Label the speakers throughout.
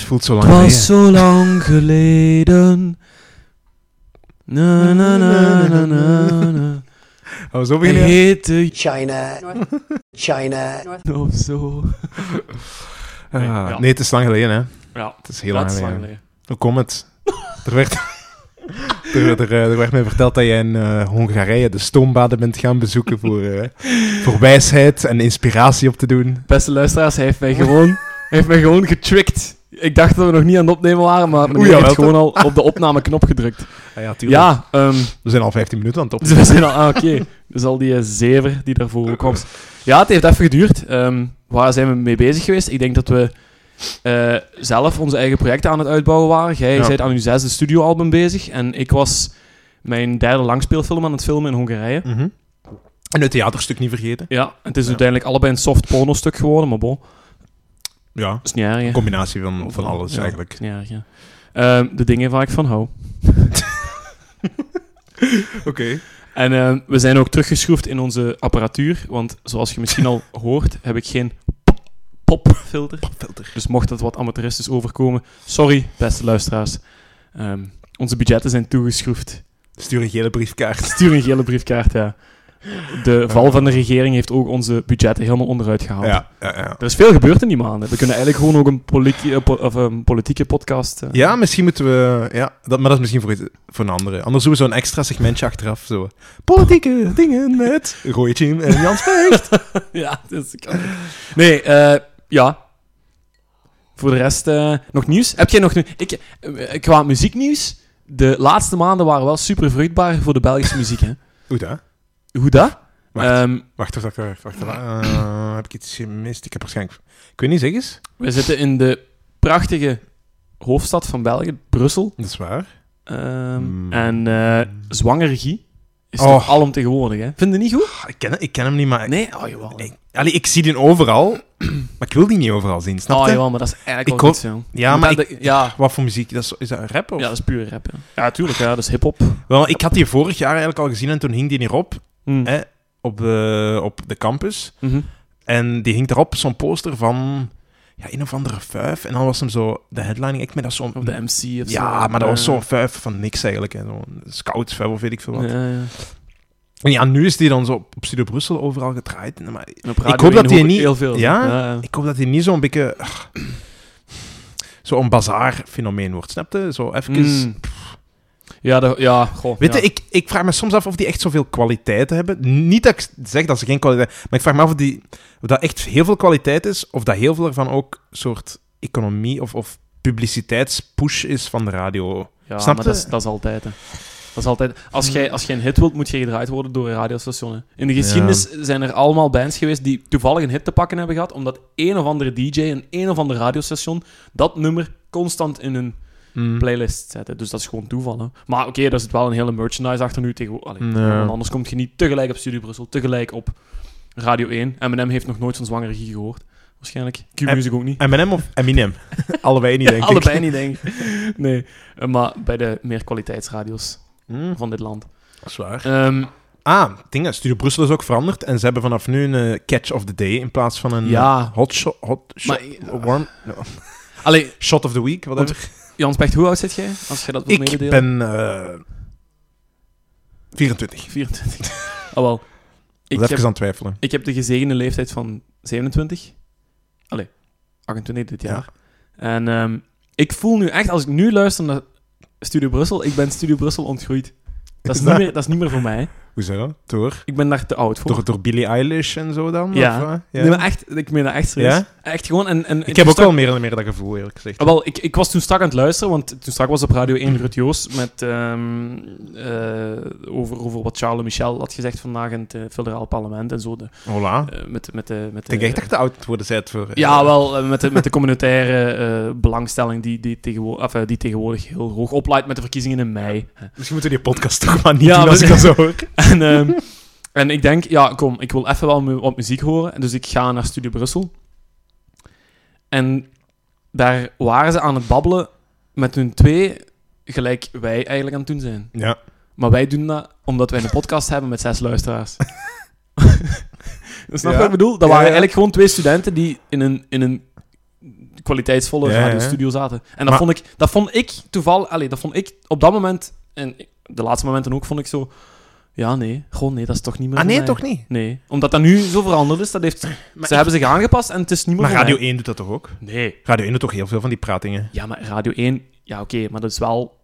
Speaker 1: voelt zo lang
Speaker 2: Het
Speaker 1: geleden.
Speaker 2: was zo lang geleden. Na na na na na na.
Speaker 1: Gaan we Oh, zo
Speaker 2: Hij
Speaker 1: beginnen?
Speaker 2: heette J-
Speaker 3: China, China,
Speaker 2: of zo.
Speaker 1: Ah,
Speaker 4: Ja.
Speaker 1: Nee, het is lang geleden, hè.
Speaker 4: Ja,
Speaker 1: Het is heel
Speaker 4: dat
Speaker 1: lang
Speaker 4: is
Speaker 1: geleden.
Speaker 4: lang geleden.
Speaker 1: Hoe komt het? er, werd, er, er, eh, er werd mij verteld dat jij in eh, Hongarije de stoombaden bent gaan bezoeken voor, eh, voor wijsheid en inspiratie op te doen.
Speaker 4: Beste luisteraars, hij heeft mij gewoon, hij heeft mij gewoon getricked. Ik dacht dat we nog niet aan het opnemen waren, maar meneer
Speaker 1: jawel,
Speaker 4: heeft gewoon al op de opnameknop gedrukt.
Speaker 1: Ah, ja, tuurlijk.
Speaker 4: Ja, ehm,
Speaker 1: We zijn al 15 minuten aan het op.
Speaker 4: dus we zijn al... Ah, oké. Dus al die eh, zever die daarvoor ook was. Ja, het heeft even geduurd. Ehm, waar zijn we mee bezig geweest? Ik denk dat we eh, zelf onze eigen projecten aan het uitbouwen waren. Jij
Speaker 1: Ja.
Speaker 4: bent aan uw zesde studioalbum bezig en ik was mijn derde langspeelfilm aan het filmen in Hongarije.
Speaker 2: Dus-
Speaker 1: Mhm. En het theaterstuk niet vergeten.
Speaker 4: Ja, het is
Speaker 1: Ja.
Speaker 4: uiteindelijk allebei een soft porno stuk geworden, maar bon, dat
Speaker 1: Ja,
Speaker 4: is niet erg. hè.
Speaker 1: een combinatie van, van alles
Speaker 4: Ja,
Speaker 1: eigenlijk.
Speaker 4: dat is niet erg, ja. Ehm, de dingen waar ik van hou.
Speaker 1: Oké.
Speaker 4: En ehm, we zijn ook teruggeschroefd in onze apparatuur, want zoals je misschien al hoort, heb ik geen popfilter.
Speaker 1: Filter.
Speaker 4: Dus mocht dat wat amateuristisch overkomen, sorry, beste luisteraars. Ehm, onze budgetten zijn toegeschroefd.
Speaker 1: Stuur een gele briefkaart.
Speaker 4: Stuur een gele briefkaart, ja. De val van de regering heeft ook onze budgetten helemaal onderuit gehaald.
Speaker 1: Ja, ja, ja.
Speaker 4: Er is veel gebeurd in die maanden. We kunnen eigenlijk gewoon ook een, politie- eh, po- of een politieke podcast... eh,
Speaker 1: Ja, misschien moeten we... Ja, dat, maar dat is misschien voor, iets- voor een andere. Anders doen we zo'n extra segmentje achteraf. Zo. Politieke dingen met Roytje en Jans Vecht.
Speaker 4: ja, dus ik kan ook. Nee, eh, ja. Voor de rest, eh, nog nieuws? Heb jij nog nieuws? Ik, eh, qua muzieknieuws, de laatste maanden waren wel super vruchtbaar voor de Belgische muziek. Hè?
Speaker 1: Goed, hè?
Speaker 4: Hoe dat?
Speaker 1: Wacht.
Speaker 4: Ehm,
Speaker 1: Wacht, wacht, wacht. wacht, wacht. Eh, heb ik iets gemist? Ik heb waarschijnlijk... Ik weet niet, zeg eens.
Speaker 4: we zitten in de prachtige hoofdstad van België, Brussel.
Speaker 1: Dat is waar.
Speaker 4: Ehm,
Speaker 1: Hmm.
Speaker 4: En eh zwange regie is
Speaker 1: Oh.
Speaker 4: toch alomtegenwoordig. Hè? Vind je niet goed?
Speaker 1: Ah, Ik ken, ik ken hem niet, maar...
Speaker 4: Nee, oh jawel.
Speaker 1: Ik, allee, ik zie die overal, maar ik wil die niet overal zien, snap
Speaker 4: Oh
Speaker 1: je?
Speaker 4: jawel, maar dat is eigenlijk
Speaker 1: Ik
Speaker 4: wel
Speaker 1: hoor-
Speaker 4: goed zo.
Speaker 1: ja, maar ik,
Speaker 4: dat- ja,
Speaker 1: wat voor muziek? Dat is, is dat rap? Of?
Speaker 4: ja, dat is puur rap. Ja, ja tuurlijk. Ja, dat is hip-hop.
Speaker 1: Wel, ik had die vorig jaar eigenlijk al gezien en toen hing die hierop,
Speaker 4: Hm.
Speaker 1: Eh? op de, op de campus.
Speaker 4: Mhm.
Speaker 1: En die hing daarop zo'n poster van ja, een of andere vuif. En dan was hem zo de headlining. Ik met dat zo'n.
Speaker 4: Op de MC of zo.
Speaker 1: ja, maar dat was
Speaker 4: Eh,
Speaker 1: zo'n vuif van niks eigenlijk. hè. Zo'n scoutsvuif of weet ik veel wat.
Speaker 4: Ja, ja.
Speaker 1: En ja, nu is die dan zo op Studio Brussel overal gedraaid. En Maar
Speaker 4: En op radio
Speaker 1: Ik hoop dat
Speaker 4: één
Speaker 1: die
Speaker 4: hoor ik
Speaker 1: niet-
Speaker 4: Heel veel.
Speaker 1: Ja?
Speaker 4: ja.
Speaker 1: ik hoop dat hij niet zo'n beetje. ach, Zo'n bazaar-fenomeen wordt, snap je? Zo even...
Speaker 4: Mm. Ja, dat- ja, goh.
Speaker 1: Weet je,
Speaker 4: ja.
Speaker 1: ik, ik vraag me soms af of die echt zoveel kwaliteiten hebben. Niet dat ik zeg dat ze geen kwaliteit hebben, maar ik vraag me af of, die, of dat echt heel veel kwaliteit is, of dat heel veel ervan ook soort economie of, of publiciteitspush is van de radio.
Speaker 4: Ja,
Speaker 1: snap Hmm.
Speaker 4: maar
Speaker 1: je?
Speaker 4: dat is, dat is altijd, hè. Dat is altijd... Als jij als jij een hit wilt, moet je gedraaid worden door een radiostation, hè. In de geschiedenis zijn er allemaal bands geweest die toevallig een hit te pakken hebben gehad, omdat een of andere DJ en een of ander radiostation dat nummer constant in hun Hmm.
Speaker 1: Mhm.
Speaker 4: playlist zetten. Dus dat is gewoon toeval, hè. Maar oké, daar zit wel een hele merchandise achter nu tegenwoordig. Allee,
Speaker 1: Ja.
Speaker 4: want Anders kom je niet tegelijk op Studio Brussel, tegelijk op Radio 1. M&M heeft nog nooit van Zwanger Regie gehoord. Waarschijnlijk. Q-Music ook niet.
Speaker 1: Eminem of Eminem? Allebei niet, denk ik.
Speaker 4: Allebei niet, denk ik. Nee, eh, maar bij de meer kwaliteitsradio's
Speaker 1: Mm,
Speaker 4: van dit land.
Speaker 1: dat is waar.
Speaker 4: Ehm,
Speaker 1: Ah, dingen. Studio Brussel is ook veranderd en ze hebben vanaf nu een eh, catch of the day in plaats van een
Speaker 4: Ja.
Speaker 1: eh, hot shot, hot shot,
Speaker 4: Maar, eh, ah.
Speaker 1: warm, no,
Speaker 4: allee,
Speaker 1: shot of the week, whatever.
Speaker 4: Jans Becht, hoe oud zit jij? Als je dat wilt
Speaker 1: Ik
Speaker 4: mededelen.
Speaker 1: ben eh, 24.
Speaker 4: 24. Oh wel. Ik
Speaker 1: Ik was even
Speaker 4: heb,
Speaker 1: aan het twijfelen.
Speaker 4: ik heb de gezegende leeftijd van 27. Allee, 28 dit jaar. En ehm, ik voel nu echt, als ik nu luister naar Studio Brussel, ik ben Studio Brussel ontgroeid. Dat is, niet, meer, dat is niet meer voor mij.
Speaker 1: Hoezo? Door,
Speaker 4: Ik ben daar te oud voor.
Speaker 1: door, door Billie Eilish en zo dan?
Speaker 4: Ja.
Speaker 1: Of, eh, ja?
Speaker 4: Nee, maar echt, ik meen dat echt serieus.
Speaker 1: Ja?
Speaker 4: Echt gewoon. En, en
Speaker 1: ik heb ook
Speaker 4: wel.
Speaker 1: wel meer en meer dat gevoel, eerlijk gezegd.
Speaker 4: Ah, wel, ik, ik was toen strak aan het luisteren, want toen strak was op Radio 1 Rut Joos met, ehm, eh, over, over wat Charles Michel had gezegd vandaag in het eh, federaal parlement en zo. De,
Speaker 1: Hola.
Speaker 4: eh, met, met, de met
Speaker 1: Ik denk echt
Speaker 4: de-
Speaker 1: dat ik te oud worden zijt voor... eh,
Speaker 4: ja, wel, eh, met de, met de communautaire eh, belangstelling die, die, tegenwoordig, of, eh, die tegenwoordig heel hoog oplaait met de verkiezingen in mei.
Speaker 1: Misschien moeten we die podcast toch maar niet
Speaker 4: Ja,
Speaker 1: doen als
Speaker 4: we-
Speaker 1: ik dat zo hoor.
Speaker 4: En, ehm, en ik denk, ja, kom, ik wil even wel mu- wat muziek horen. En Dus ik ga naar Studio Brussel. En daar waren ze aan het babbelen met hun twee, gelijk wij eigenlijk aan het doen zijn.
Speaker 1: Ja.
Speaker 4: Maar wij doen dat omdat wij een podcast hebben met zes luisteraars. Snap je
Speaker 1: Ja.
Speaker 4: wat ik bedoel? Dat
Speaker 1: Ja,
Speaker 4: waren
Speaker 1: ja.
Speaker 4: eigenlijk gewoon twee studenten die in een, in een kwaliteitsvolle
Speaker 1: Ja, ja.
Speaker 4: radiostudio zaten. En dat,
Speaker 1: Maar-
Speaker 4: vond ik, dat vond ik toeval, allee, dat vond ik op dat moment, en de laatste momenten ook, vond ik zo, ja, nee, gewoon nee, dat is toch niet meer
Speaker 1: Ah
Speaker 4: voor
Speaker 1: nee,
Speaker 4: mij.
Speaker 1: toch niet?
Speaker 4: Nee, omdat dat nu zo veranderd is, dat heeft, ze hebben zich aangepast en het is niet meer
Speaker 1: Maar
Speaker 4: voor
Speaker 1: Radio
Speaker 4: mij.
Speaker 1: 1 doet dat toch ook?
Speaker 4: Nee.
Speaker 1: Radio 1 doet toch heel veel van die pratingen?
Speaker 4: Ja, maar Radio 1, ja oké, maar dat is wel...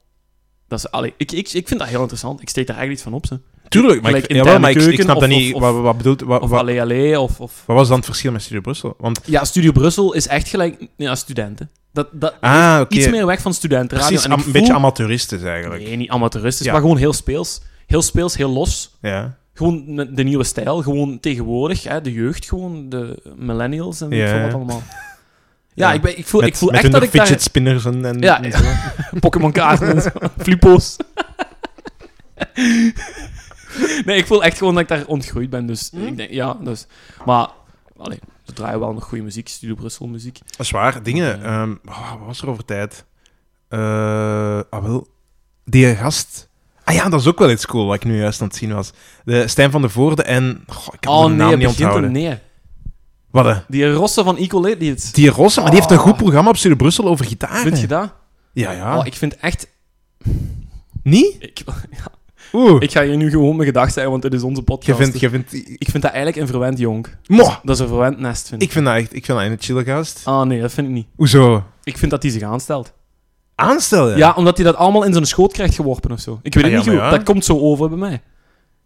Speaker 4: Dat is, allee, ik, ik, ik vind dat heel interessant. Ik steek daar eigenlijk iets van op, ze.
Speaker 1: Tuurlijk, maar, ik,
Speaker 4: Gelijk
Speaker 1: jawel, maar ik,
Speaker 4: interne
Speaker 1: ik snap dat
Speaker 4: keuken of-
Speaker 1: niet.
Speaker 4: of-
Speaker 1: wat, wat bedoelt... Wat,
Speaker 4: Of
Speaker 1: wat,
Speaker 4: Allee Allee, of, of...
Speaker 1: wat was dan het verschil met Studio Brussel? Want,
Speaker 4: Ja, Studio Brussel is echt gelijk... Ja, studenten. Dat, dat
Speaker 1: ah, oké.
Speaker 4: Iets meer weg van studentenradio.
Speaker 1: Precies,
Speaker 4: en
Speaker 1: am-
Speaker 4: ik
Speaker 1: een beetje
Speaker 4: voel-
Speaker 1: amateuristisch eigenlijk.
Speaker 4: Nee, niet amateuristisch,
Speaker 1: Ja.
Speaker 4: maar gewoon heel speels. Heel speels, heel los.
Speaker 1: Ja.
Speaker 4: Gewoon de de nieuwe stijl, gewoon tegenwoordig, hè, de jeugd, gewoon de millennials en weet ik
Speaker 1: Ja,
Speaker 4: veel
Speaker 1: ja.
Speaker 4: wat allemaal. Ja,
Speaker 1: Ja.
Speaker 4: ik, ben, ik voel,
Speaker 1: met,
Speaker 4: ik voel
Speaker 1: met
Speaker 4: echt
Speaker 1: hun
Speaker 4: dat ik
Speaker 1: fidget
Speaker 4: daar...
Speaker 1: spinners en, en,
Speaker 4: Ja,
Speaker 1: en
Speaker 4: ja.
Speaker 1: zo.
Speaker 4: Pokémon kaarten en zo. Flippo's. nee, ik voel echt gewoon dat ik daar ontgroeid ben. Dus
Speaker 1: Mm.
Speaker 4: ik denk, ja, dus... Maar, allee, we draaien wel nog goede muziek. Studio Brussel muziek.
Speaker 1: Dat is waar, dingen.
Speaker 4: Ja.
Speaker 1: ehm, oh, wat was er over tijd? Eh, ah, wel. Die gast... Ah ja, dat is ook wel iets cool wat ik nu juist aan het zien was. De Stijn van de Voorde en... Goh, ik kan
Speaker 4: Oh
Speaker 1: de naam
Speaker 4: nee,
Speaker 1: niet
Speaker 4: begint er
Speaker 1: onthouden.
Speaker 4: nee.
Speaker 1: Wat, hè?
Speaker 4: Die rossen van Ecolate, die het...
Speaker 1: Die Rosse, maar die heeft een goed programma op Studio Brussel over gitaar.
Speaker 4: Vind Oh. je dat?
Speaker 1: Ja, ja.
Speaker 4: Oh, ik vind echt...
Speaker 1: Niet?
Speaker 4: Ik,
Speaker 1: Oeh.
Speaker 4: ik ga hier nu gewoon mijn gedachten zeggen, want het is onze
Speaker 1: Je
Speaker 4: podcast. dus
Speaker 1: vindt... Je vindt ik,
Speaker 4: Ik vind dat eigenlijk een verwend jong.
Speaker 1: Mo.
Speaker 4: Dat is een verwend nest, vind ik.
Speaker 1: ik vind dat echt... Ik vind dat een chille gast.
Speaker 4: Ah nee, dat vind ik niet.
Speaker 1: Hoezo?
Speaker 4: Ik vind dat hij zich aanstelt.
Speaker 1: Aanstellen?
Speaker 4: Ja, omdat hij dat allemaal in zijn schoot krijgt geworpen of zo. Ik weet
Speaker 1: Ah,
Speaker 4: het
Speaker 1: ja,
Speaker 4: niet goed.
Speaker 1: maar ja.
Speaker 4: Dat komt zo over bij mij.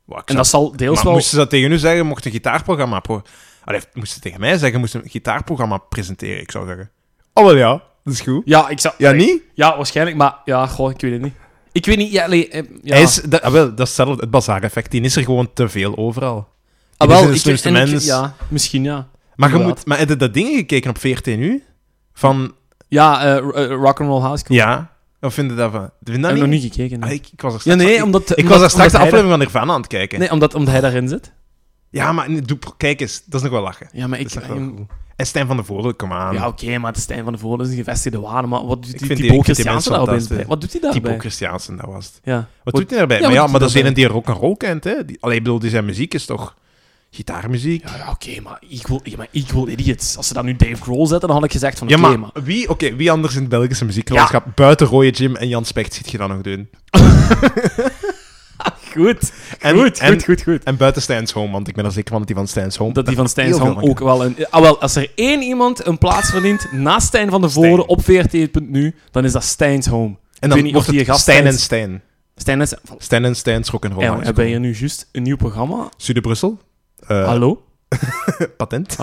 Speaker 1: Wow, ik
Speaker 4: En
Speaker 1: zou-
Speaker 4: dat zal deels
Speaker 1: maar
Speaker 4: wel...
Speaker 1: moesten ze dat tegen u zeggen? Mocht een gitaarprogramma... Pro... Allee, moesten ze tegen mij zeggen? Moesten een gitaarprogramma presenteren, ik zou zeggen. Oh, wel ja. Dat is goed.
Speaker 4: Ja, ik zou...
Speaker 1: Ja,
Speaker 4: allee,
Speaker 1: niet?
Speaker 4: Ja, waarschijnlijk, maar... Ja, goh, ik weet het niet. Ik weet niet... Ja, allee, eh, ja.
Speaker 1: Hij is, dat, ah, wel, dat is hetzelfde, het bazaar-effect. Die is er gewoon te veel overal.
Speaker 4: Ah,
Speaker 1: die is de
Speaker 4: ik-
Speaker 1: slimste
Speaker 4: en ik-
Speaker 1: mens.
Speaker 4: Ja, misschien ja.
Speaker 1: Maar, je
Speaker 4: Inderdaad.
Speaker 1: moet, maar heb je dat ding gekeken op 14 u? Van,
Speaker 4: Ja, eh, ro- eh, Rock'n'Roll High School.
Speaker 1: ja, of vind je dat van? Vind je dat
Speaker 4: Ik heb
Speaker 1: niet?
Speaker 4: nog niet gekeken. nee.
Speaker 1: Ah, ik, ik was er
Speaker 4: ja,
Speaker 1: straks,
Speaker 4: nee,
Speaker 1: ik,
Speaker 4: omdat...
Speaker 1: ik was
Speaker 4: omdat-
Speaker 1: daar straks de
Speaker 4: omdat hij
Speaker 1: aflevering van Nirvana aan het kijken.
Speaker 4: daar- Nee, omdat, omdat hij daarin zit.
Speaker 1: Ja, maar nee, doe, kijk eens, dat is nog wel lachen.
Speaker 4: Ja, maar
Speaker 1: Dat
Speaker 4: ik...
Speaker 1: is nog wel goed. En Stijn van de Voorde, kom aan.
Speaker 4: Ja, oké, maar de Stijn van de Voorde is een gevestigde waarde, maar wat doet
Speaker 1: Ik
Speaker 4: die,
Speaker 1: vind
Speaker 4: die,
Speaker 1: die- ik vind
Speaker 4: Bo
Speaker 1: die
Speaker 4: Christiaanse
Speaker 1: mensen
Speaker 4: daarbij?
Speaker 1: fantastisch.
Speaker 4: Wat doet hij
Speaker 1: Typo
Speaker 4: daarbij?
Speaker 1: Christiansen, dat was het.
Speaker 4: Ja.
Speaker 1: Wat doet hij daarbij?
Speaker 4: Ja,
Speaker 1: maar
Speaker 4: wat
Speaker 1: ja,
Speaker 4: doet
Speaker 1: maar dat is
Speaker 4: hij
Speaker 1: een die rock en roll kent, hè? Die, allee, ik bedoel, die zijn muziek is toch gitaarmuziek?
Speaker 4: Ja, ja, oké, maar, equal, ja, maar Equal Idiots. Als ze dan nu Dave Grohl zetten, dan had ik gezegd van,
Speaker 1: Ja,
Speaker 4: oké,
Speaker 1: maar,
Speaker 4: maar...
Speaker 1: wie, oké, wie anders in het Belgische muzieklandschap buiten Rooie Jim en Jan Specht ziet je dan nog doen?
Speaker 4: Goed,
Speaker 1: En,
Speaker 4: goed,
Speaker 1: en,
Speaker 4: goed, goed, goed.
Speaker 1: En buiten Stijn's Home, want ik ben er zeker van dat die van Stijn's Home...
Speaker 4: Dat die van Stijn
Speaker 1: heel veel
Speaker 4: Sam
Speaker 1: van
Speaker 4: ook wel een... Ah, wel, als er één iemand een plaats verdient naast Stijn van de
Speaker 1: Stijn.
Speaker 4: Voorde op VRT.nu, dan is dat Stijn's Home.
Speaker 1: En
Speaker 4: weet
Speaker 1: dan
Speaker 4: niet
Speaker 1: wordt
Speaker 4: of die
Speaker 1: het
Speaker 4: gast
Speaker 1: Stijn en
Speaker 4: Stijn's-
Speaker 1: Stijn.
Speaker 4: Stijn is... Van,
Speaker 1: Stijn en Stijn's Rock and Roll.
Speaker 4: ja,
Speaker 1: High
Speaker 4: hebben
Speaker 1: School.
Speaker 4: hier nu juist een nieuw programma?
Speaker 1: Zuid-Brussel. Eh,
Speaker 4: Hallo?
Speaker 1: Patent.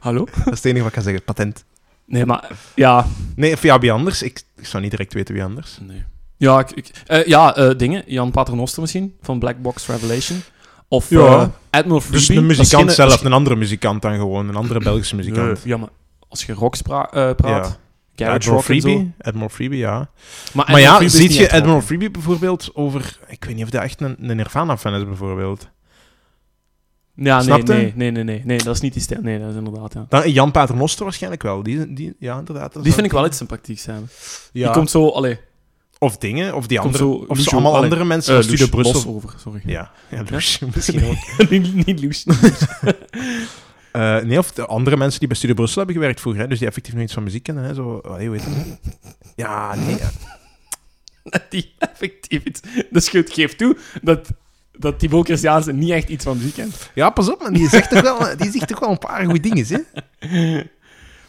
Speaker 4: Hallo?
Speaker 1: Dat is het enige wat ik kan zeggen. Patent.
Speaker 4: Nee, maar... Ja,
Speaker 1: Nee, of ja, wie anders? Ik, ik zou niet direct weten wie anders.
Speaker 4: Nee. Ja, ik, ik- eh, ja eh, dingen. Jan Paternoster misschien, van Black Box Revelation. Of
Speaker 1: Ja.
Speaker 4: eh, Admiral Freebie.
Speaker 1: Dus een
Speaker 4: Dat is
Speaker 1: muzikant
Speaker 4: geen-
Speaker 1: zelf,
Speaker 4: dat is
Speaker 1: een andere muzikant dan gewoon. Een andere Belgische
Speaker 4: geen-
Speaker 1: muzikant.
Speaker 4: Nee, Ja, maar als je rock spra- eh, praat...
Speaker 1: Ja.
Speaker 4: Garage
Speaker 1: Admiral
Speaker 4: rock en zo.
Speaker 1: Freebie. Admiral Freebie, ja.
Speaker 4: Maar,
Speaker 1: maar ja,
Speaker 4: Freebie is
Speaker 1: ziet
Speaker 4: niet
Speaker 1: je
Speaker 4: echt rock.
Speaker 1: Admiral Freebie bijvoorbeeld over... Ik weet niet of dat echt een, een Nirvana-fan is, bijvoorbeeld.
Speaker 4: Ja, nee,
Speaker 1: Snap je?
Speaker 4: nee, nee, nee, nee, nee. Dat is niet die stijl. Nee, dat is inderdaad, ja.
Speaker 1: Dan Jan Paternoster waarschijnlijk wel. Die, die, ja, inderdaad. dat
Speaker 4: Die
Speaker 1: zou-
Speaker 4: vind ik wel iets sympathieks hebben.
Speaker 1: ja.
Speaker 4: Die komt zo... Allee,
Speaker 1: Of dingen, of die
Speaker 4: Komt
Speaker 1: andere...
Speaker 4: zo
Speaker 1: of
Speaker 4: Lucio-
Speaker 1: zo allemaal
Speaker 4: allee,
Speaker 1: andere mensen
Speaker 4: eh,
Speaker 1: van Studio
Speaker 4: Loes
Speaker 1: Brussel.
Speaker 4: Bos over, sorry.
Speaker 1: Ja, ja dus- Loes, misschien ook.
Speaker 4: niet, niet Loes.
Speaker 1: Eh, nee, of de andere mensen die bij Studio Brussel hebben gewerkt vroeger, hè, dus die effectief nog iets van muziek kennen. Hè, zo, allee, hoe heet dat? Ja, nee. ja.
Speaker 4: die effectief iets... Dus je geeft toe dat, dat Thibaut Christiaanse niet echt iets van muziek kent.
Speaker 1: Ja, pas op, man. Die zegt toch wel, die zegt toch wel een paar goede dingen, hè?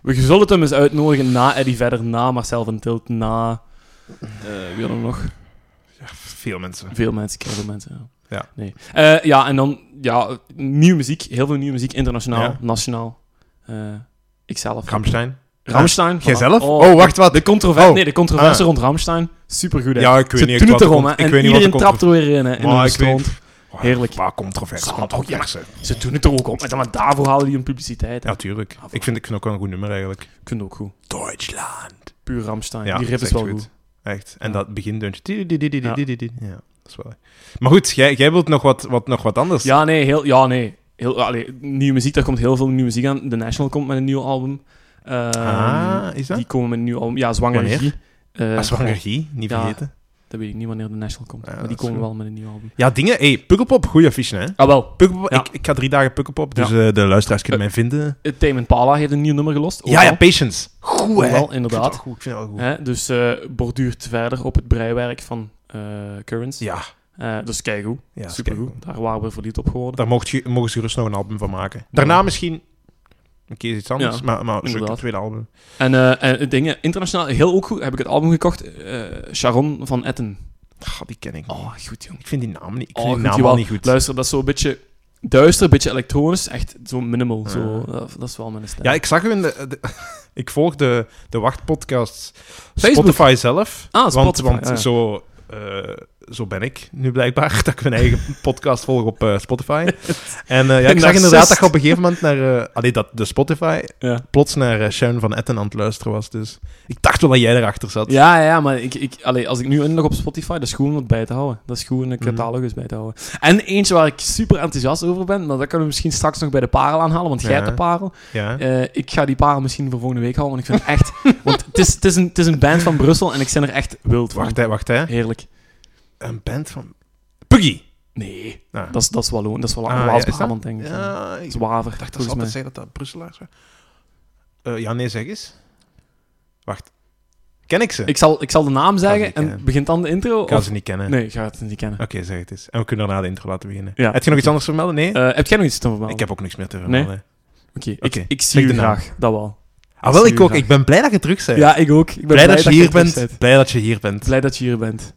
Speaker 4: We zullen het hem eens uitnodigen na Eddie verder, na Marcel van Tilt, na... eh wie hadden we nog?
Speaker 1: Veel mensen.
Speaker 4: Veel mensen, ik ken veel mensen. Ja.
Speaker 1: Ja.
Speaker 4: Nee. Eh, ja, en dan ja, nieuwe muziek. Heel veel nieuwe muziek. Internationaal,
Speaker 1: Ja.
Speaker 4: nationaal. Eh ikzelf.
Speaker 1: Ramstein.
Speaker 4: Ramstein. voilà.
Speaker 1: Jijzelf?
Speaker 4: Oh,
Speaker 1: Oh, wacht, wat?
Speaker 4: De controverse,
Speaker 1: Oh.
Speaker 4: nee, de controverse
Speaker 1: Ah.
Speaker 4: rond Ramstein. Supergoed, hè.
Speaker 1: Ja, ik weet
Speaker 4: Ze
Speaker 1: niet
Speaker 4: doen
Speaker 1: wat
Speaker 4: het
Speaker 1: de
Speaker 4: erom, hè.
Speaker 1: cont-
Speaker 4: En
Speaker 1: ik weet niet wat de
Speaker 4: iedereen trapt er weer in, hè. In
Speaker 1: Maar
Speaker 4: hun
Speaker 1: ik weet- Oh,
Speaker 4: stront. Heerlijk. oh,
Speaker 1: Waar controverse,
Speaker 4: Zal
Speaker 1: controverse.
Speaker 4: Ze doen het er ook om. En dan maar daarvoor halen die een publiciteit. hè.
Speaker 1: Ja, tuurlijk. Ik vind, ik vind ook wel een goed nummer, eigenlijk.
Speaker 4: Ik vind het ook goed.
Speaker 1: Duitsland.
Speaker 4: Puur Ramstein.
Speaker 1: Ja,
Speaker 4: die rip
Speaker 1: dat
Speaker 4: is
Speaker 1: is echt
Speaker 4: wel goed.
Speaker 1: goed. Echt. En
Speaker 4: Ja.
Speaker 1: dat begindeuntje. Ja, dat is wel... Maar goed, jij, jij wilt nog wat, wat, nog wat anders.
Speaker 4: Ja, nee, heel, ja, nee. Heel, allee, nieuwe muziek, daar komt heel veel nieuwe muziek aan. The National komt met een nieuw album. Ehm,
Speaker 1: Ah, is dat?
Speaker 4: Die komen met een nieuw album. Ja, Zwanger
Speaker 1: Wanneer?
Speaker 4: Regie. Eh,
Speaker 1: Ah, zwangergie, niet
Speaker 4: ja.
Speaker 1: vergeten.
Speaker 4: Dat weet ik niet wanneer de National komt.
Speaker 1: Ja,
Speaker 4: maar die
Speaker 1: dat is
Speaker 4: komen
Speaker 1: goed.
Speaker 4: wel met een nieuw album.
Speaker 1: Ja, dingen... Hé, hey, Pukkelpop, goede affiche, hè?
Speaker 4: Ah, wel.
Speaker 1: Pukkelpop,
Speaker 4: Ja.
Speaker 1: ik, ik ga drie dagen Pukkelpop, dus eh, de luisteraars kunnen mij vinden.
Speaker 4: Eh, Tame Impala heeft een nieuw nummer gelost. ook
Speaker 1: Ja, ja,
Speaker 4: al.
Speaker 1: Patience. Goed,
Speaker 4: Ook
Speaker 1: hè? Ik
Speaker 4: wel,
Speaker 1: vind het wel
Speaker 4: inderdaad.
Speaker 1: goed, ik vind het wel goed.
Speaker 4: Hè, dus eh, borduurt verder op het breiwerk van eh Currents.
Speaker 1: Ja,
Speaker 4: Eh, dus kijk hoe.
Speaker 1: ja
Speaker 4: Supergoed.
Speaker 1: kijk,
Speaker 4: Daar waren we verliefd op geworden.
Speaker 1: Daar mocht je, mogen ze gerust nog een album van maken. Daarna
Speaker 4: Ja.
Speaker 1: misschien een keer iets anders,
Speaker 4: Ja,
Speaker 1: maar, maar zeker
Speaker 4: inderdaad.
Speaker 1: een tweede album.
Speaker 4: En, eh, en dingen, internationaal heel ook goed. Heb ik het album gekocht. eh, Sharon van Etten.
Speaker 1: Ah, die ken ik niet.
Speaker 4: Oh, goed jong.
Speaker 1: Ik vind die naam niet, ik
Speaker 4: Oh,
Speaker 1: vind
Speaker 4: goed,
Speaker 1: die naam
Speaker 4: jawel.
Speaker 1: al niet goed.
Speaker 4: Luister, dat is zo'n beetje duister, een beetje elektronisch. Echt zo minimal. Zo,
Speaker 1: Ja.
Speaker 4: dat, dat is wel mijn stijl.
Speaker 1: Ja, ik zag u in de... de- ik volg de, de wachtpodcasts.
Speaker 4: Facebook.
Speaker 1: Spotify zelf.
Speaker 4: Ah,
Speaker 1: want
Speaker 4: Spotify,
Speaker 1: want
Speaker 4: ja, ja.
Speaker 1: Zo, eh, zo ben ik nu blijkbaar, dat ik mijn eigen podcast volg op eh, Spotify. En eh, ja, ik zag
Speaker 4: narcist.
Speaker 1: inderdaad dat je op een gegeven moment naar... eh, allee, dat de Spotify
Speaker 4: ja.
Speaker 1: plots naar eh, Sharon van Etten aan het luisteren was. Dus ik dacht wel dat jij erachter zat.
Speaker 4: Ja, ja, ja, maar ik, ik, allee, als ik nu inlog op Spotify, dat is goed om het bij te houden. Dat is goed om de
Speaker 1: Mhm.
Speaker 4: catalogus bij te houden. En eentje waar ik super enthousiast over ben, maar dat kunnen we misschien straks nog bij de parel aanhalen, want jij
Speaker 1: Ja.
Speaker 4: hebt de parel.
Speaker 1: Ja.
Speaker 4: Eh, ik ga die parel misschien voor volgende week houden, want ik vind het echt... want het is, het, is een, het is een band van Brussel en ik ben er echt wild van.
Speaker 1: Wacht, hè, wacht, hè.
Speaker 4: Heerlijk.
Speaker 1: Een band van... Puggy!
Speaker 4: Nee,
Speaker 1: Ah.
Speaker 4: dat is, dat is wel Dat is wel
Speaker 1: Ah, ja, is dat-
Speaker 4: Waals-Brabant, denk ik.
Speaker 1: Ja, ik
Speaker 4: Zwaver,
Speaker 1: dacht dat ze
Speaker 4: volgens mij.
Speaker 1: altijd zeggen dat dat Brusselaars waren. Eh, ja, nee, zeg eens. Wacht. Ken ik ze?
Speaker 4: Ik zal, ik zal de naam
Speaker 1: ze
Speaker 4: zeggen
Speaker 1: niet
Speaker 4: en
Speaker 1: kennen.
Speaker 4: begint dan de intro?
Speaker 1: Ik kan
Speaker 4: Of...
Speaker 1: ze niet kennen.
Speaker 4: Nee, ik ga het niet kennen.
Speaker 1: Oké, zeg het eens. En we kunnen daarna de intro laten beginnen.
Speaker 4: Ja.
Speaker 1: Heb je nog iets anders te vermelden? Nee?
Speaker 4: Eh, heb jij nog iets te vermelden?
Speaker 1: ik heb ook niks meer te
Speaker 4: Nee?
Speaker 1: vermelden.
Speaker 4: Oké, ik-
Speaker 1: Oké,
Speaker 4: ik,
Speaker 1: zeg
Speaker 4: zie
Speaker 1: de
Speaker 4: je
Speaker 1: naam.
Speaker 4: graag. Dat wel.
Speaker 1: Ah, wel,
Speaker 4: zie
Speaker 1: ik
Speaker 4: je
Speaker 1: ook.
Speaker 4: graag.
Speaker 1: Ik ben blij dat je terug bent.
Speaker 4: Ja, ik ook. Ik ben
Speaker 1: Eh, blij, dat je hier
Speaker 4: terug
Speaker 1: bent.
Speaker 4: bent.
Speaker 1: Blij dat je hier bent.
Speaker 4: Blij dat je hier bent.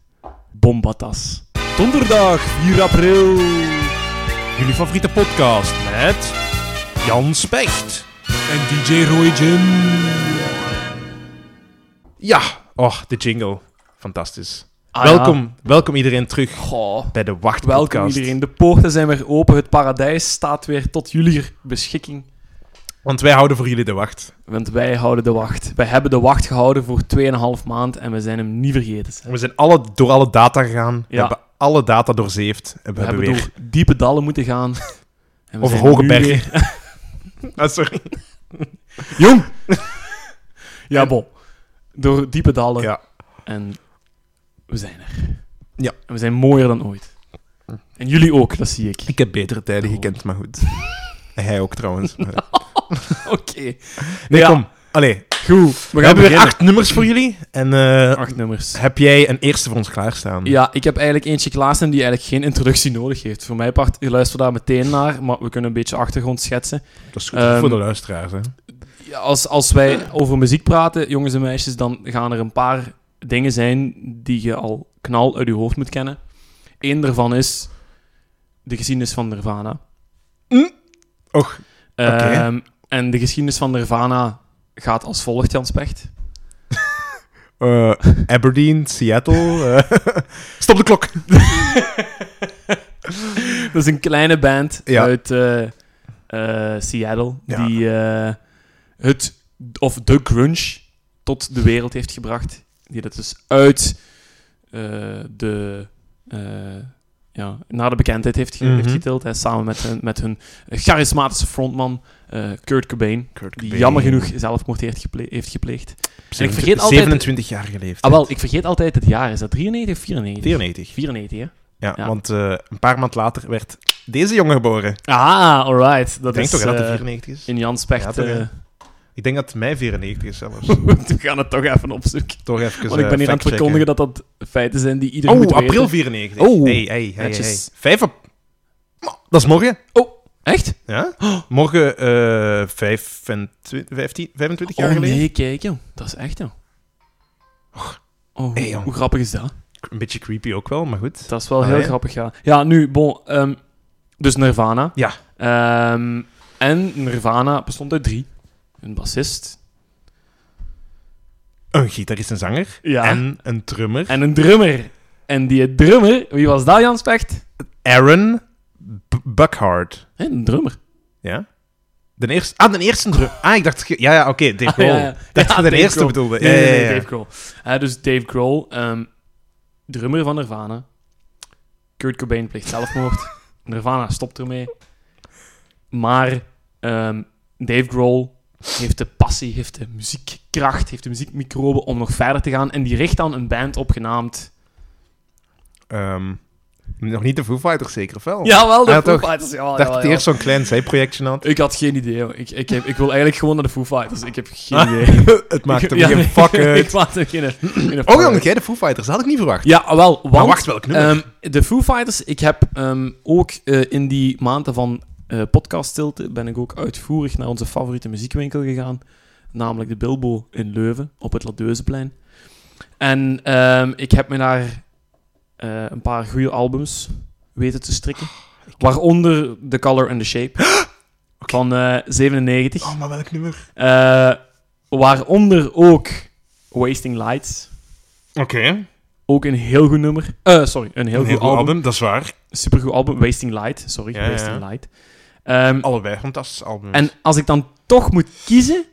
Speaker 4: Bombatas. Donderdag 4 april.
Speaker 1: Jullie favoriete podcast met Jan Specht.
Speaker 4: En DJ Roy Jim.
Speaker 1: Ja. Oh, de jingle. Fantastisch.
Speaker 4: Ah,
Speaker 1: welkom, welkom iedereen terug
Speaker 4: ja. Goh.
Speaker 1: bij de Wacht
Speaker 4: Welkom
Speaker 1: podcast.
Speaker 4: iedereen. De poorten zijn weer open. Het paradijs staat weer tot jullie beschikking.
Speaker 1: Want wij houden voor jullie de wacht.
Speaker 4: Want wij houden de wacht. Wij hebben de wacht gehouden voor 2,5 maand en we zijn hem niet vergeten. We,
Speaker 1: We zijn alle, door alle data gegaan. We
Speaker 4: Ja.
Speaker 1: hebben alle data doorzeefd. En we, hebben weer...
Speaker 4: door diepe dallen moeten gaan. En we
Speaker 1: Over
Speaker 4: zijn
Speaker 1: hoge
Speaker 4: nu
Speaker 1: bergen.
Speaker 4: weer-
Speaker 1: Ah, sorry.
Speaker 4: Jong! ja, bon. Door diepe dallen.
Speaker 1: Ja.
Speaker 4: En we zijn er.
Speaker 1: Ja.
Speaker 4: En we zijn mooier dan ooit. En jullie ook, dat zie ik.
Speaker 1: Ik heb betere tijden gekend, maar goed. En hij ook trouwens. Maar-
Speaker 4: Oké.
Speaker 1: Nee,
Speaker 4: Ja.
Speaker 1: kom. Allee,
Speaker 4: Goed. We
Speaker 1: we
Speaker 4: gaan
Speaker 1: hebben weer
Speaker 4: beginnen.
Speaker 1: acht nummers voor jullie. En eh,
Speaker 4: Acht nummers.
Speaker 1: heb jij een eerste voor ons klaarstaan?
Speaker 4: Ja, ik heb eigenlijk eentje klaarstaan die eigenlijk geen introductie nodig heeft. Voor mij part, je luistert daar meteen naar, maar we kunnen een beetje achtergrond schetsen.
Speaker 1: Dat is goed
Speaker 4: Ehm,
Speaker 1: voor de luisteraars, hè.
Speaker 4: Ja, als, als wij over muziek praten, jongens en meisjes, dan gaan er een paar dingen zijn die je al knal uit je hoofd moet kennen. Eén daarvan is de geschiedenis van Nirvana.
Speaker 1: Och, oké.
Speaker 4: Ehm, en de geschiedenis van Nirvana gaat als volgt, Jan Specht.
Speaker 1: eh, Aberdeen, Seattle. eh, Stop de klok.
Speaker 4: Dat is een kleine band
Speaker 1: Ja.
Speaker 4: uit eh, eh, Seattle
Speaker 1: Ja.
Speaker 4: die eh, het, of de grunge tot de wereld heeft gebracht. Die dat dus uit eh, de... eh, ja, naar de bekendheid heeft, ge-
Speaker 1: Mhm.
Speaker 4: heeft getild. Hè, samen met hun, met hun charismatische frontman eh, Kurt Cobain. Die jammer genoeg zelfmoord heeft, geple- heeft gepleegd. En ik vergeet altijd-
Speaker 1: 27 jaar geleefd.
Speaker 4: Ah, wel, ik vergeet altijd het jaar. Is dat 93 of 94?
Speaker 1: 94.
Speaker 4: 94, hè?
Speaker 1: Ja,
Speaker 4: Ja.
Speaker 1: want eh, een paar maand later werd deze jongen geboren.
Speaker 4: Ah, alright. Dat
Speaker 1: Ik denk
Speaker 4: is
Speaker 1: toch hè, dat
Speaker 4: eh,
Speaker 1: het 94 is?
Speaker 4: in Jan Specht.
Speaker 1: Ja, toch, hè?
Speaker 4: eh,
Speaker 1: Ik denk dat het mei 94 is zelfs.
Speaker 4: we gaan het toch even opzoeken.
Speaker 1: Toch even eh,
Speaker 4: Want ik ben hier aan het verkondigen dat dat feiten zijn die iedereen moet
Speaker 1: Oh,
Speaker 4: weten.
Speaker 1: april 94.
Speaker 4: Oh,
Speaker 1: hey, hey, hey, hey.
Speaker 4: netjes.
Speaker 1: 5 ap- Oh, Dat is morgen.
Speaker 4: Echt?
Speaker 1: Ja? Oh. Morgen eh 25, 15, 25 jaar
Speaker 4: Oh
Speaker 1: geleden.
Speaker 4: nee, kijk joh. Dat is echt joh. Oh,
Speaker 1: Hey, jong.
Speaker 4: hoe grappig is dat?
Speaker 1: Een beetje creepy ook wel, maar goed.
Speaker 4: Dat is wel
Speaker 1: Ah,
Speaker 4: heel
Speaker 1: ja.
Speaker 4: grappig, ja. Ja, nu, bon. ehm, dus Nirvana.
Speaker 1: Ja.
Speaker 4: Ehm, en Nirvana bestond uit drie. Een bassist.
Speaker 1: Een gitarist en zanger.
Speaker 4: Ja.
Speaker 1: En een drummer.
Speaker 4: En een drummer. En die drummer, wie was dat, Jan Specht?
Speaker 1: Aaron B- Buckhart.
Speaker 4: Hé, een drummer.
Speaker 1: Ja? De eerste, ah, de eerste drum. Ah, ik dacht... ge- Ja, ja, oké. Dave
Speaker 4: Ah,
Speaker 1: Grohl.
Speaker 4: ja, ja.
Speaker 1: Dacht
Speaker 4: Ja,
Speaker 1: je de
Speaker 4: Dave
Speaker 1: eerste
Speaker 4: Grohl.
Speaker 1: bedoelde.
Speaker 4: Nee,
Speaker 1: Ja,
Speaker 4: nee,
Speaker 1: ja,
Speaker 4: nee,
Speaker 1: ja.
Speaker 4: Dave Grohl. Hè, dus Dave Grohl, ehm, drummer van Nirvana. Kurt Cobain pleegt zelfmoord. Nirvana stopt ermee. Maar ehm, Dave Grohl heeft de passie, heeft de muziekkracht, heeft de muziekmicrobe om nog verder te gaan. En die richt dan een band op genaamd
Speaker 1: ehm, nog niet de Foo Fighters zeker, of wel?
Speaker 4: Jawel, de
Speaker 1: Oh. Ja,
Speaker 4: Foo
Speaker 1: toch?
Speaker 4: Fighters. Ja,
Speaker 1: Ik dacht
Speaker 4: ja,
Speaker 1: dat
Speaker 4: ja.
Speaker 1: hij eerst zo'n klein zijprojectje had.
Speaker 4: Ik had geen idee. hoor. Ik, ik, heb, ik wil eigenlijk gewoon naar de Foo Fighters. Ik heb geen idee.
Speaker 1: Het Ah. maakt hem
Speaker 4: Ja,
Speaker 1: geen
Speaker 4: nee.
Speaker 1: fuck
Speaker 4: ik
Speaker 1: uit.
Speaker 4: maakte er geen, geen
Speaker 1: Oh jong, jij de Foo Fighters, dat had ik niet verwacht.
Speaker 4: Ja, wel. Want,
Speaker 1: Maar wacht, welk nummer?
Speaker 4: ehm, de Foo Fighters, ik heb ehm, ook eh, in die maanden van eh podcaststilte ben ik ook uitvoerig naar onze favoriete muziekwinkel gegaan. Namelijk de Bilbo in Leuven, op het Ladeuzeplein. En ehm, ik heb me daar eh, een paar goede albums weten te strikken. Waaronder The Color and the Shape van eh, 97.
Speaker 1: Oh, maar welk nummer?
Speaker 4: Eh, waaronder ook Wasting Lights.
Speaker 1: Oké,
Speaker 4: Ook een heel goed nummer. Eh, sorry, een heel
Speaker 1: een
Speaker 4: goed album.
Speaker 1: dat is waar.
Speaker 4: Supergoed album. Wasting Light, sorry.
Speaker 1: Ja, Oh, ja,
Speaker 4: Wasting
Speaker 1: ja.
Speaker 4: Light. Ehm,
Speaker 1: Allebei fantastisch album.
Speaker 4: en als ik dan toch moet kiezen,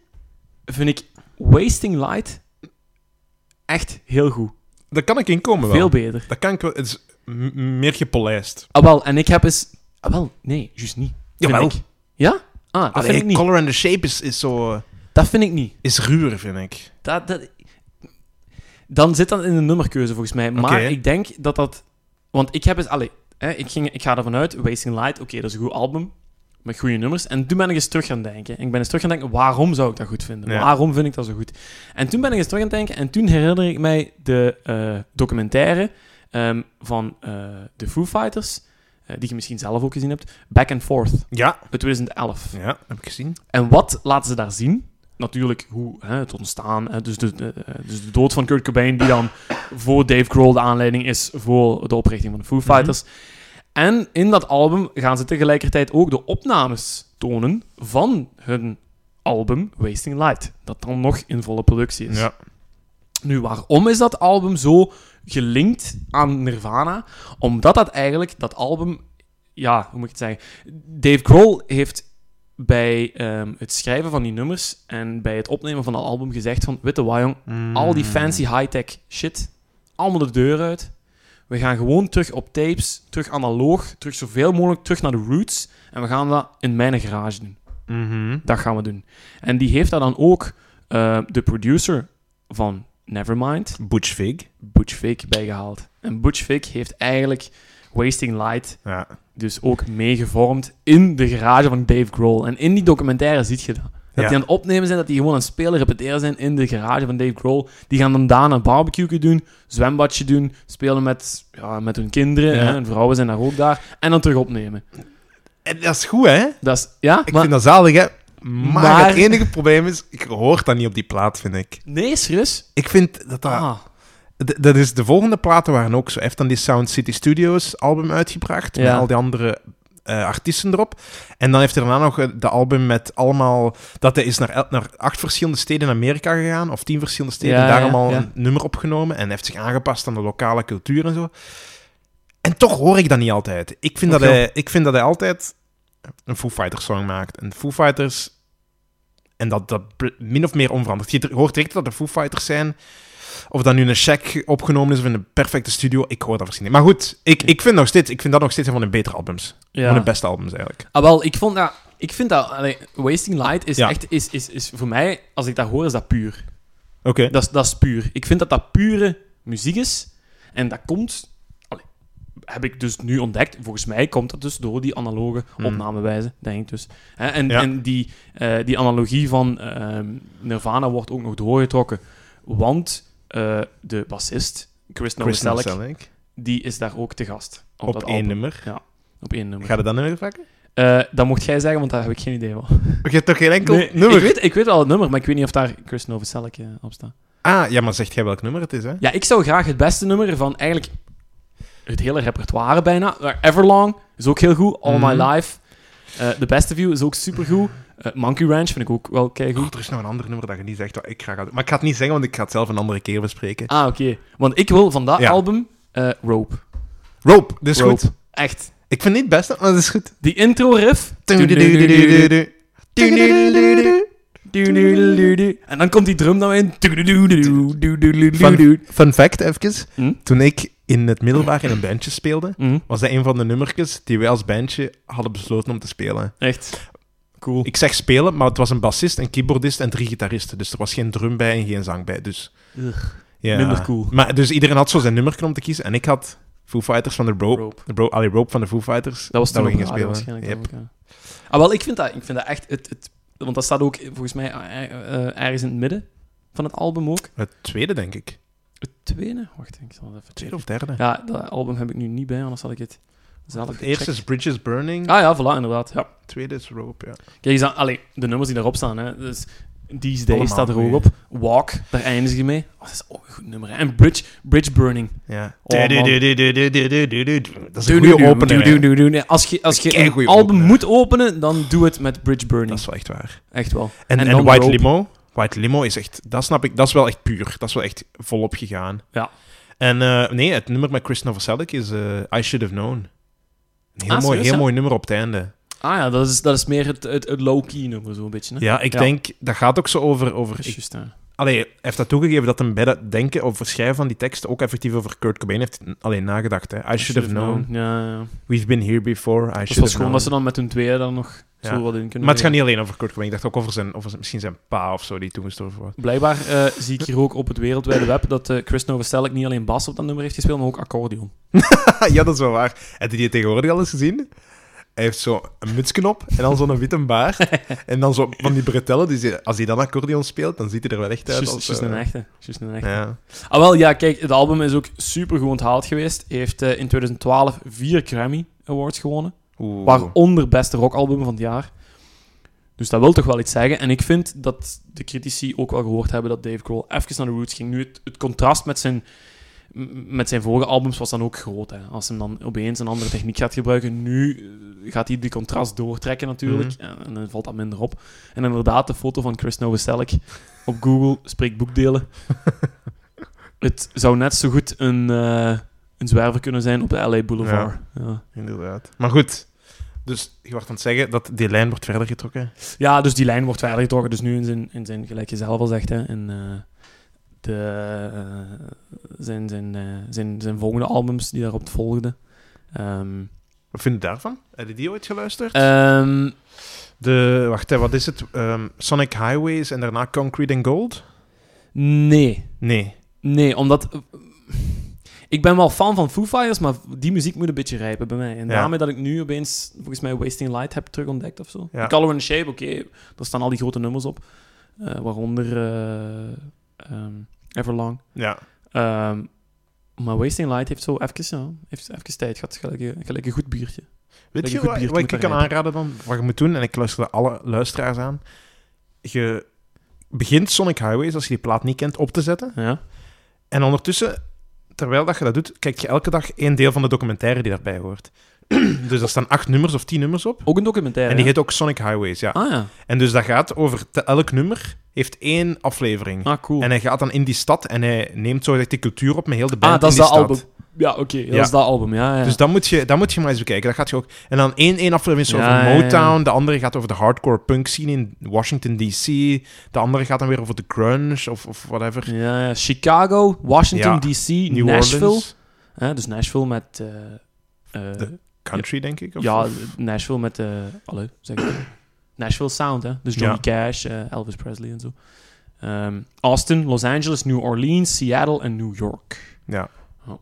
Speaker 4: vind ik Wasting Light echt heel goed.
Speaker 1: Daar kan ik in komen wel.
Speaker 4: Veel beter.
Speaker 1: Dat kan ik wel. Het is m- meer gepolijst.
Speaker 4: Ah, wel, en ik heb eens... Ah, wel, nee, juist niet. Vind
Speaker 1: Jawel.
Speaker 4: ik. Ja? Ah, dat vind ik niet.
Speaker 1: Color and the Shape is, is zo... eh,
Speaker 4: Dat vind ik niet.
Speaker 1: Is ruwer, vind ik.
Speaker 4: Dat, dat... Dan zit dat in de nummerkeuze volgens mij. Maar
Speaker 1: Oké.
Speaker 4: ik denk dat dat. Want ik heb eens. Allee, hè, ik, ging, ik ga ervan uit. Wasting Light, oké, dat is een goed album. Met goede nummers. En toen ben ik eens terug gaan denken. En ik ben eens terug gaan denken: waarom zou ik dat goed vinden?
Speaker 1: Ja.
Speaker 4: Waarom vind ik dat zo goed? En toen ben ik eens terug gaan denken. En toen herinner ik mij de eh, documentaire ehm, van eh, de Foo Fighters. eh, die je misschien zelf ook gezien hebt. Back and Forth
Speaker 1: Ja.
Speaker 4: uit 2011.
Speaker 1: Ja, heb ik gezien.
Speaker 4: En wat laten ze daar zien? Natuurlijk hoe hè, het ontstaan, hè, dus, de, de- eh, dus de dood van Kurt Cobain, die dan voor Dave Grohl de aanleiding is voor de oprichting van de Foo Fighters. En in dat album gaan ze tegelijkertijd ook de opnames tonen van hun album Wasting Light, dat dan nog in volle productie is.
Speaker 1: Ja.
Speaker 4: Nu, waarom is dat album zo gelinkt aan Nirvana? Omdat dat eigenlijk, dat album, ja, hoe moet ik het zeggen? Dave Grohl heeft bij ehm, het schrijven van die nummers en bij het opnemen van dat album gezegd van, witte wajong,
Speaker 1: Mm.
Speaker 4: al
Speaker 1: Hmm.
Speaker 4: die fancy high-tech shit, allemaal de deur uit. We gaan gewoon terug op tapes, terug analoog, terug zoveel mogelijk terug naar de roots. En we gaan dat in mijn garage doen.
Speaker 1: Mhm.
Speaker 4: Dat gaan we doen. En die heeft daar dan ook eh, de producer van Nevermind,
Speaker 1: Butch Vig.
Speaker 4: Butch Vig, bij gehaald. En Butch Vig heeft eigenlijk Wasting Light
Speaker 1: Ja.
Speaker 4: dus ook meegevormd in de garage van Dave Grohl. En in die documentaire ziet je dat. Dat
Speaker 1: Ja.
Speaker 4: die aan het opnemen zijn, dat die gewoon aan het spelen, repeteren zijn in de garage van Dave Grohl. Die gaan dan daarna een barbecue doen, zwembadje doen, spelen met, ja, met hun kinderen.
Speaker 1: Ja.
Speaker 4: Hè, hun vrouwen zijn daar ook daar. En dan terug opnemen.
Speaker 1: En dat is goed, hè?
Speaker 4: Dat is, ja,
Speaker 1: Ik
Speaker 4: maar-
Speaker 1: vind dat zalig, hè? Maar,
Speaker 4: Maar-
Speaker 1: het enige probleem is, ik hoor dat niet op die plaat, vind ik.
Speaker 4: Nee, serieus?
Speaker 1: Ik vind dat dat...
Speaker 4: Ah,
Speaker 1: D- Dat is, de volgende platen waren ook zo. Hij heeft dan die Sound City Studios album uitgebracht. Met
Speaker 4: Ja.
Speaker 1: al die andere eh, artiesten erop. En dan heeft hij daarna nog eh, de album met allemaal... Dat hij is naar, el- naar acht verschillende steden in Amerika gegaan. Of tien verschillende steden.
Speaker 4: Ja,
Speaker 1: daar
Speaker 4: ja,
Speaker 1: allemaal
Speaker 4: ja.
Speaker 1: een nummer opgenomen. En heeft zich aangepast aan de lokale cultuur en zo. En toch hoor ik dat niet altijd. Ik vind, dat
Speaker 4: Oké.
Speaker 1: hij, ik vind dat hij altijd een Foo Fighters song maakt. En Foo Fighters... En dat, dat bl- min of meer onveranderd. Je dr- hoort direct dat er Foo Fighters zijn. Of dat nu in een check opgenomen is of in een perfecte studio. Ik hoor dat waarschijnlijk niet. Maar goed, ik, ik, vind nog steeds, ik vind dat nog steeds een van de betere albums. Van de
Speaker 4: ja.
Speaker 1: beste albums eigenlijk.
Speaker 4: Ah, wel, ik vond dat... Ik vind dat... allee, Wasting Light is
Speaker 1: Ja.
Speaker 4: echt... Is, is, is, voor mij, als ik dat hoor, is dat puur.
Speaker 1: Oké.
Speaker 4: Dat is, dat is puur. Ik vind dat dat pure muziek is. En dat komt... allee, heb ik dus nu ontdekt. Volgens mij komt dat dus door die analoge
Speaker 1: Hmm.
Speaker 4: opnamewijze, denk ik dus. Hè, en
Speaker 1: Ja.
Speaker 4: en die, eh, die analogie van ehm, Nirvana wordt ook nog doorgetrokken. Want eh, de bassist, Chris
Speaker 1: Chris
Speaker 4: Novoselic,
Speaker 1: Novoselic.
Speaker 4: die is daar ook te gast. Op,
Speaker 1: Op
Speaker 4: dat
Speaker 1: één
Speaker 4: album.
Speaker 1: nummer.
Speaker 4: Op één nummer.
Speaker 1: Ga je dat nummer pakken?
Speaker 4: Eh, dat mocht jij zeggen, want daar heb ik geen idee van.
Speaker 1: Je hebt toch geen enkel
Speaker 4: Nee,
Speaker 1: nummer?
Speaker 4: Ik weet, ik weet wel het nummer, maar ik weet niet of daar Chris Novoselic eh, op staat.
Speaker 1: Ah, ja, maar zegt jij welk nummer het is, hè?
Speaker 4: Ja, ik zou graag het beste nummer van eigenlijk het hele repertoire bijna. Maar Everlong is ook heel goed. All
Speaker 1: Mhm.
Speaker 4: My Life. Eh The Best of You is ook supergoed. goed. Monkey Ranch vind ik ook wel
Speaker 1: Oh,
Speaker 4: keigoed.
Speaker 1: er is nog een ander nummer dat je niet zegt. wat ik graag had. Maar ik ga het niet zeggen, want ik ga het zelf een andere keer bespreken.
Speaker 4: Ah, oké. Want ik wil van dat
Speaker 1: Ja.
Speaker 4: album eh, Rope.
Speaker 1: Rope, dit is
Speaker 4: Rope.
Speaker 1: goed.
Speaker 4: Echt.
Speaker 1: Ik vind het niet het beste, maar het is goed.
Speaker 4: Die intro riff. En dan komt die drum dan in.
Speaker 1: Fun, fun fact, even.
Speaker 4: Hm?
Speaker 1: Toen ik in het middelbaar in een bandje speelde,
Speaker 4: Mhm,
Speaker 1: was dat een van de nummertjes die wij als bandje hadden besloten om te spelen.
Speaker 4: Echt. Cool.
Speaker 1: Ik zeg spelen, maar het was een bassist, een keyboardist en drie gitaristen. Dus er was geen drum bij en geen zang bij. Dus,
Speaker 4: Ugh,
Speaker 1: ja.
Speaker 4: Minder cool.
Speaker 1: Maar, dus iedereen had zo zijn nummer om te kiezen en ik had Foo Fighters van de Rope.
Speaker 4: Rope.
Speaker 1: De bro, allee, Rope van de Foo Fighters.
Speaker 4: Dat was toen
Speaker 1: we
Speaker 4: op
Speaker 1: gingen
Speaker 4: radio
Speaker 1: spelen. Yep.
Speaker 4: waarschijnlijk. dan ook, ja. Ah, wel, ik vind dat, ik vind dat echt... Het, het, want dat staat ook volgens mij eh, eh, ergens in het midden van het album ook.
Speaker 1: Het tweede, denk ik.
Speaker 4: Het tweede? Wacht, ik zal het even
Speaker 1: Tweede
Speaker 4: checken.
Speaker 1: of derde.
Speaker 4: Ja, dat album heb ik nu niet bij, anders had ik het zelf
Speaker 1: het
Speaker 4: gecheckt.
Speaker 1: eerste is Bridges Burning.
Speaker 4: Ah ja, voilà, inderdaad. Ja.
Speaker 1: het tweede is Rope, ja.
Speaker 4: Kijk eens aan, allee, de nummers die daarop staan. Hè. Dus These Days
Speaker 1: Allemaal
Speaker 4: staat er ook
Speaker 1: goeie.
Speaker 4: op. Walk, daar eindigen je mee. Oh, dat is ook een goed nummer. hè. En Bridge, Bridge Burning.
Speaker 1: ja.
Speaker 4: Oh, man.
Speaker 1: dat is een goede opener.
Speaker 4: Doe,
Speaker 1: hè.
Speaker 4: doe, doe, doe. Als je, als je een
Speaker 1: keigoeie
Speaker 4: album
Speaker 1: opener.
Speaker 4: moet openen, dan doe het met Bridge
Speaker 1: Dat
Speaker 4: Burning.
Speaker 1: is wel echt waar.
Speaker 4: Echt wel.
Speaker 1: En, en,
Speaker 4: dan
Speaker 1: White
Speaker 4: Rope.
Speaker 1: Limo. White Limo is echt... Dat snap ik. Dat is wel echt puur. Dat is wel echt volop gegaan.
Speaker 4: Ja.
Speaker 1: En eh, nee, het nummer met Chris Novoselic is eh, I Should Have Known. Een heel,
Speaker 4: Ah,
Speaker 1: mooi,
Speaker 4: serieus,
Speaker 1: heel
Speaker 4: ja?
Speaker 1: mooi nummer op het einde.
Speaker 4: Ah ja, dat is, dat is meer het, het, het low-key nummer, zo'n beetje. Hè?
Speaker 1: Ja, ik
Speaker 4: Ja.
Speaker 1: denk... Dat gaat ook zo over... over
Speaker 4: Dat is
Speaker 1: ik-
Speaker 4: juist, hè.
Speaker 1: Allee, hij heeft dat toegegeven dat hem bij dat denken over schrijven van die teksten ook effectief over Kurt Cobain heeft alleen nagedacht. Hè. I, should, have known.
Speaker 4: Ja, ja.
Speaker 1: We've been here before. I
Speaker 4: Het
Speaker 1: should
Speaker 4: was
Speaker 1: have
Speaker 4: gewoon
Speaker 1: known.
Speaker 4: dat ze dan met hun tweeën dan nog
Speaker 1: Ja.
Speaker 4: zo wat in kunnen.
Speaker 1: Maar het gaat
Speaker 4: leggen.
Speaker 1: niet alleen over Kurt Cobain. Ik dacht ook over zijn... Over zijn- misschien zijn pa of zo, die toen gestorven was.
Speaker 4: Blijkbaar eh, zie ik hier ook op het wereldwijde web dat eh Chris Novoselic niet alleen bas op dat nummer heeft gespeeld, maar ook accordeon.
Speaker 1: Ah, ja, dat is wel waar. Heb je die tegenwoordig al eens gezien? Hij heeft zo een mutsknop en dan zo'n witte baard. en dan zo van die bretellen. Die, ze- als hij dan accordeon speelt, dan ziet hij er wel echt uit.
Speaker 4: Juist
Speaker 1: als,
Speaker 4: juist
Speaker 1: eh,
Speaker 4: een echte. Juist een echte.
Speaker 1: Ja.
Speaker 4: Ah, wel, ja, kijk, het album is ook super goed onthaald geweest. Hij heeft eh, in 2012 vier Grammy Awards gewonnen,
Speaker 1: Oeh.
Speaker 4: waaronder beste rockalbum van het jaar. Dus dat wil toch wel iets zeggen. En ik vind dat de critici ook wel gehoord hebben dat Dave Grohl even naar de roots ging. Nu, het, het contrast met zijn, m- met zijn vorige albums was dan ook groot. Hè. Als hij dan opeens een andere techniek gaat gebruiken, nu eh, gaat hij die contrast doortrekken natuurlijk. En, en dan valt dat minder op. En inderdaad, de foto van Chris Novoselic op Google spreekt boekdelen. Het zou net zo goed een, eh, een zwerver kunnen zijn op de LA Boulevard. Ja, ja.
Speaker 1: Inderdaad. Maar goed. Dus je wordt aan het zeggen dat die lijn wordt verder getrokken.
Speaker 4: dus die lijn wordt verder getrokken. Dus nu in zijn, in zijn gelijk je zelf al zegt, hè, in eh, de, eh, zijn, zijn, eh, zijn, zijn volgende albums die daarop volgden. Ehm,
Speaker 1: Wat vind je daarvan? Heb je die ooit geluisterd?
Speaker 4: ehm,
Speaker 1: De, wacht, hè, wat is het? Ehm, Sonic Highways en daarna Concrete and Gold?
Speaker 4: nee,
Speaker 1: Nee.
Speaker 4: nee, omdat... Ik ben wel fan van Foo Fighters, maar die muziek moet een beetje rijpen bij mij. En
Speaker 1: Ja.
Speaker 4: daarmee dat ik nu opeens, volgens mij, Wasting Light heb terugontdekt of zo.
Speaker 1: Ja.
Speaker 4: Color and Shape, oké, daar staan al die grote nummers op. Eh, waaronder eh, ehm, Everlong.
Speaker 1: Ja.
Speaker 4: Ehm, maar Wasting Light heeft zo even, ja, heeft even tijd gehad. Gelijk, een- gelijk een goed biertje.
Speaker 1: Weet
Speaker 4: je
Speaker 1: je
Speaker 4: goed
Speaker 1: wat,
Speaker 4: bier
Speaker 1: wat
Speaker 4: moet
Speaker 1: ik kan
Speaker 4: rijpen.
Speaker 1: aanraden dan? Wat je moet doen, en ik luister alle luisteraars aan. Je begint Sonic Highways, als je die plaat niet kent, op te zetten.
Speaker 4: Ja.
Speaker 1: En ondertussen, terwijl dat je dat doet, kijk je elke dag één deel van de documentaire die daarbij hoort. dus daar staan acht nummers of tien nummers op.
Speaker 4: Ook een documentaire.
Speaker 1: En die
Speaker 4: hè?
Speaker 1: heet ook Sonic Highways, ja.
Speaker 4: Ah ja,
Speaker 1: En dus dat gaat over... te- elk nummer heeft één aflevering.
Speaker 4: ah cool.
Speaker 1: En hij gaat dan in die stad en hij neemt zo die cultuur op met heel de band
Speaker 4: ah, dat is
Speaker 1: in die
Speaker 4: dat
Speaker 1: stad.
Speaker 4: album. Ja, oké, dat
Speaker 1: Ja.
Speaker 4: is dat album, ja. ja.
Speaker 1: Dus dat moet, je, dat moet je maar eens bekijken. Dat gaat je ook... En dan één, één aflevering is
Speaker 4: Ja,
Speaker 1: over
Speaker 4: ja, ja.
Speaker 1: Motown, de andere gaat over de hardcore punk scene in Washington D.C., de andere gaat dan weer over de grunge of, of whatever.
Speaker 4: ja, ja. Chicago, Washington
Speaker 1: Ja.
Speaker 4: D.C.,
Speaker 1: New
Speaker 4: Nashville.
Speaker 1: Orleans,
Speaker 4: Hè, dus Nashville met... eh, eh,
Speaker 1: De- country, denk ik. Of,
Speaker 4: ja,
Speaker 1: of-
Speaker 4: Nashville met... eh hallo, zeg ik. Nashville Sound, hè. Dus Johnny
Speaker 1: Ja.
Speaker 4: Cash, eh, Elvis Presley en zo. Ehm, Austin, Los Angeles, New Orleans, Seattle en New York.
Speaker 1: ja.
Speaker 4: Oh.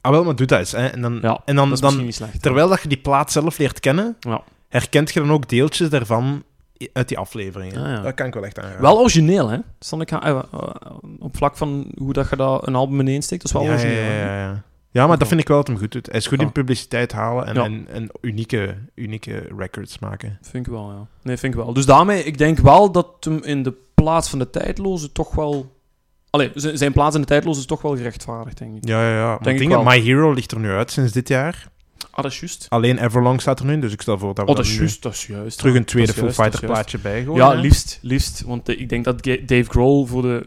Speaker 1: Ah, wel, maar doe dat eens. Hè. En dan,
Speaker 4: Ja,
Speaker 1: en
Speaker 4: Dat
Speaker 1: dan, dan
Speaker 4: is misschien niet slecht.
Speaker 1: terwijl dat je die plaat zelf leert kennen,
Speaker 4: Ja.
Speaker 1: herkent je dan ook deeltjes daarvan i- uit die afleveringen.
Speaker 4: Ah, ja.
Speaker 1: Dat kan ik wel echt aanraden.
Speaker 4: Wel origineel, hè? Sonic Ha- eh, eh, op vlak van hoe dat je dat een album ineen steekt, dat is wel
Speaker 1: ja, ja,
Speaker 4: origineel.
Speaker 1: ja,
Speaker 4: hè?
Speaker 1: ja, ja. Ja, maar dat vind ik wel dat hem goed doet. Hij is goed
Speaker 4: Ja.
Speaker 1: in publiciteit halen en,
Speaker 4: Oh. Ja.
Speaker 1: en, en unieke, unieke records maken.
Speaker 4: Vind ik wel, ja. Nee, vind ik wel. Dus daarmee, ik denk wel dat hem in de plaats van de tijdloze toch wel... Allee, z- zijn plaats in de tijdloze is toch wel gerechtvaardigd, denk ik.
Speaker 1: Ja, ja, ja. Maar
Speaker 4: Denk ik
Speaker 1: dingen,
Speaker 4: wel.
Speaker 1: My Hero ligt er nu uit sinds dit jaar.
Speaker 4: Ah, dat is juist.
Speaker 1: Alleen Everlong staat er nu in, dus ik stel voor dat we
Speaker 4: Oh, dat
Speaker 1: daar
Speaker 4: is
Speaker 1: nu
Speaker 4: juist, dat is juist.
Speaker 1: eh, terug een
Speaker 4: Dat is
Speaker 1: tweede Full
Speaker 4: juist,
Speaker 1: Fighter
Speaker 4: dat is juist.
Speaker 1: plaatje bijgooien.
Speaker 4: Ja,
Speaker 1: hè.
Speaker 4: liefst, liefst. Want eh, ik denk dat Ga- Dave Grohl voor de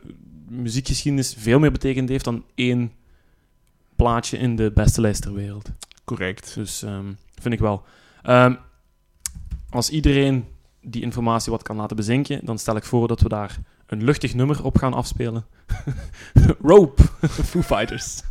Speaker 4: muziekgeschiedenis veel meer betekend heeft dan één plaatje in de beste lijst ter wereld.
Speaker 1: Correct.
Speaker 4: Dus ehm, vind ik wel. Ehm, als iedereen die informatie wat kan laten bezinken, dan stel ik voor dat we daar een luchtig nummer op gaan afspelen. Rope, Foo Fighters.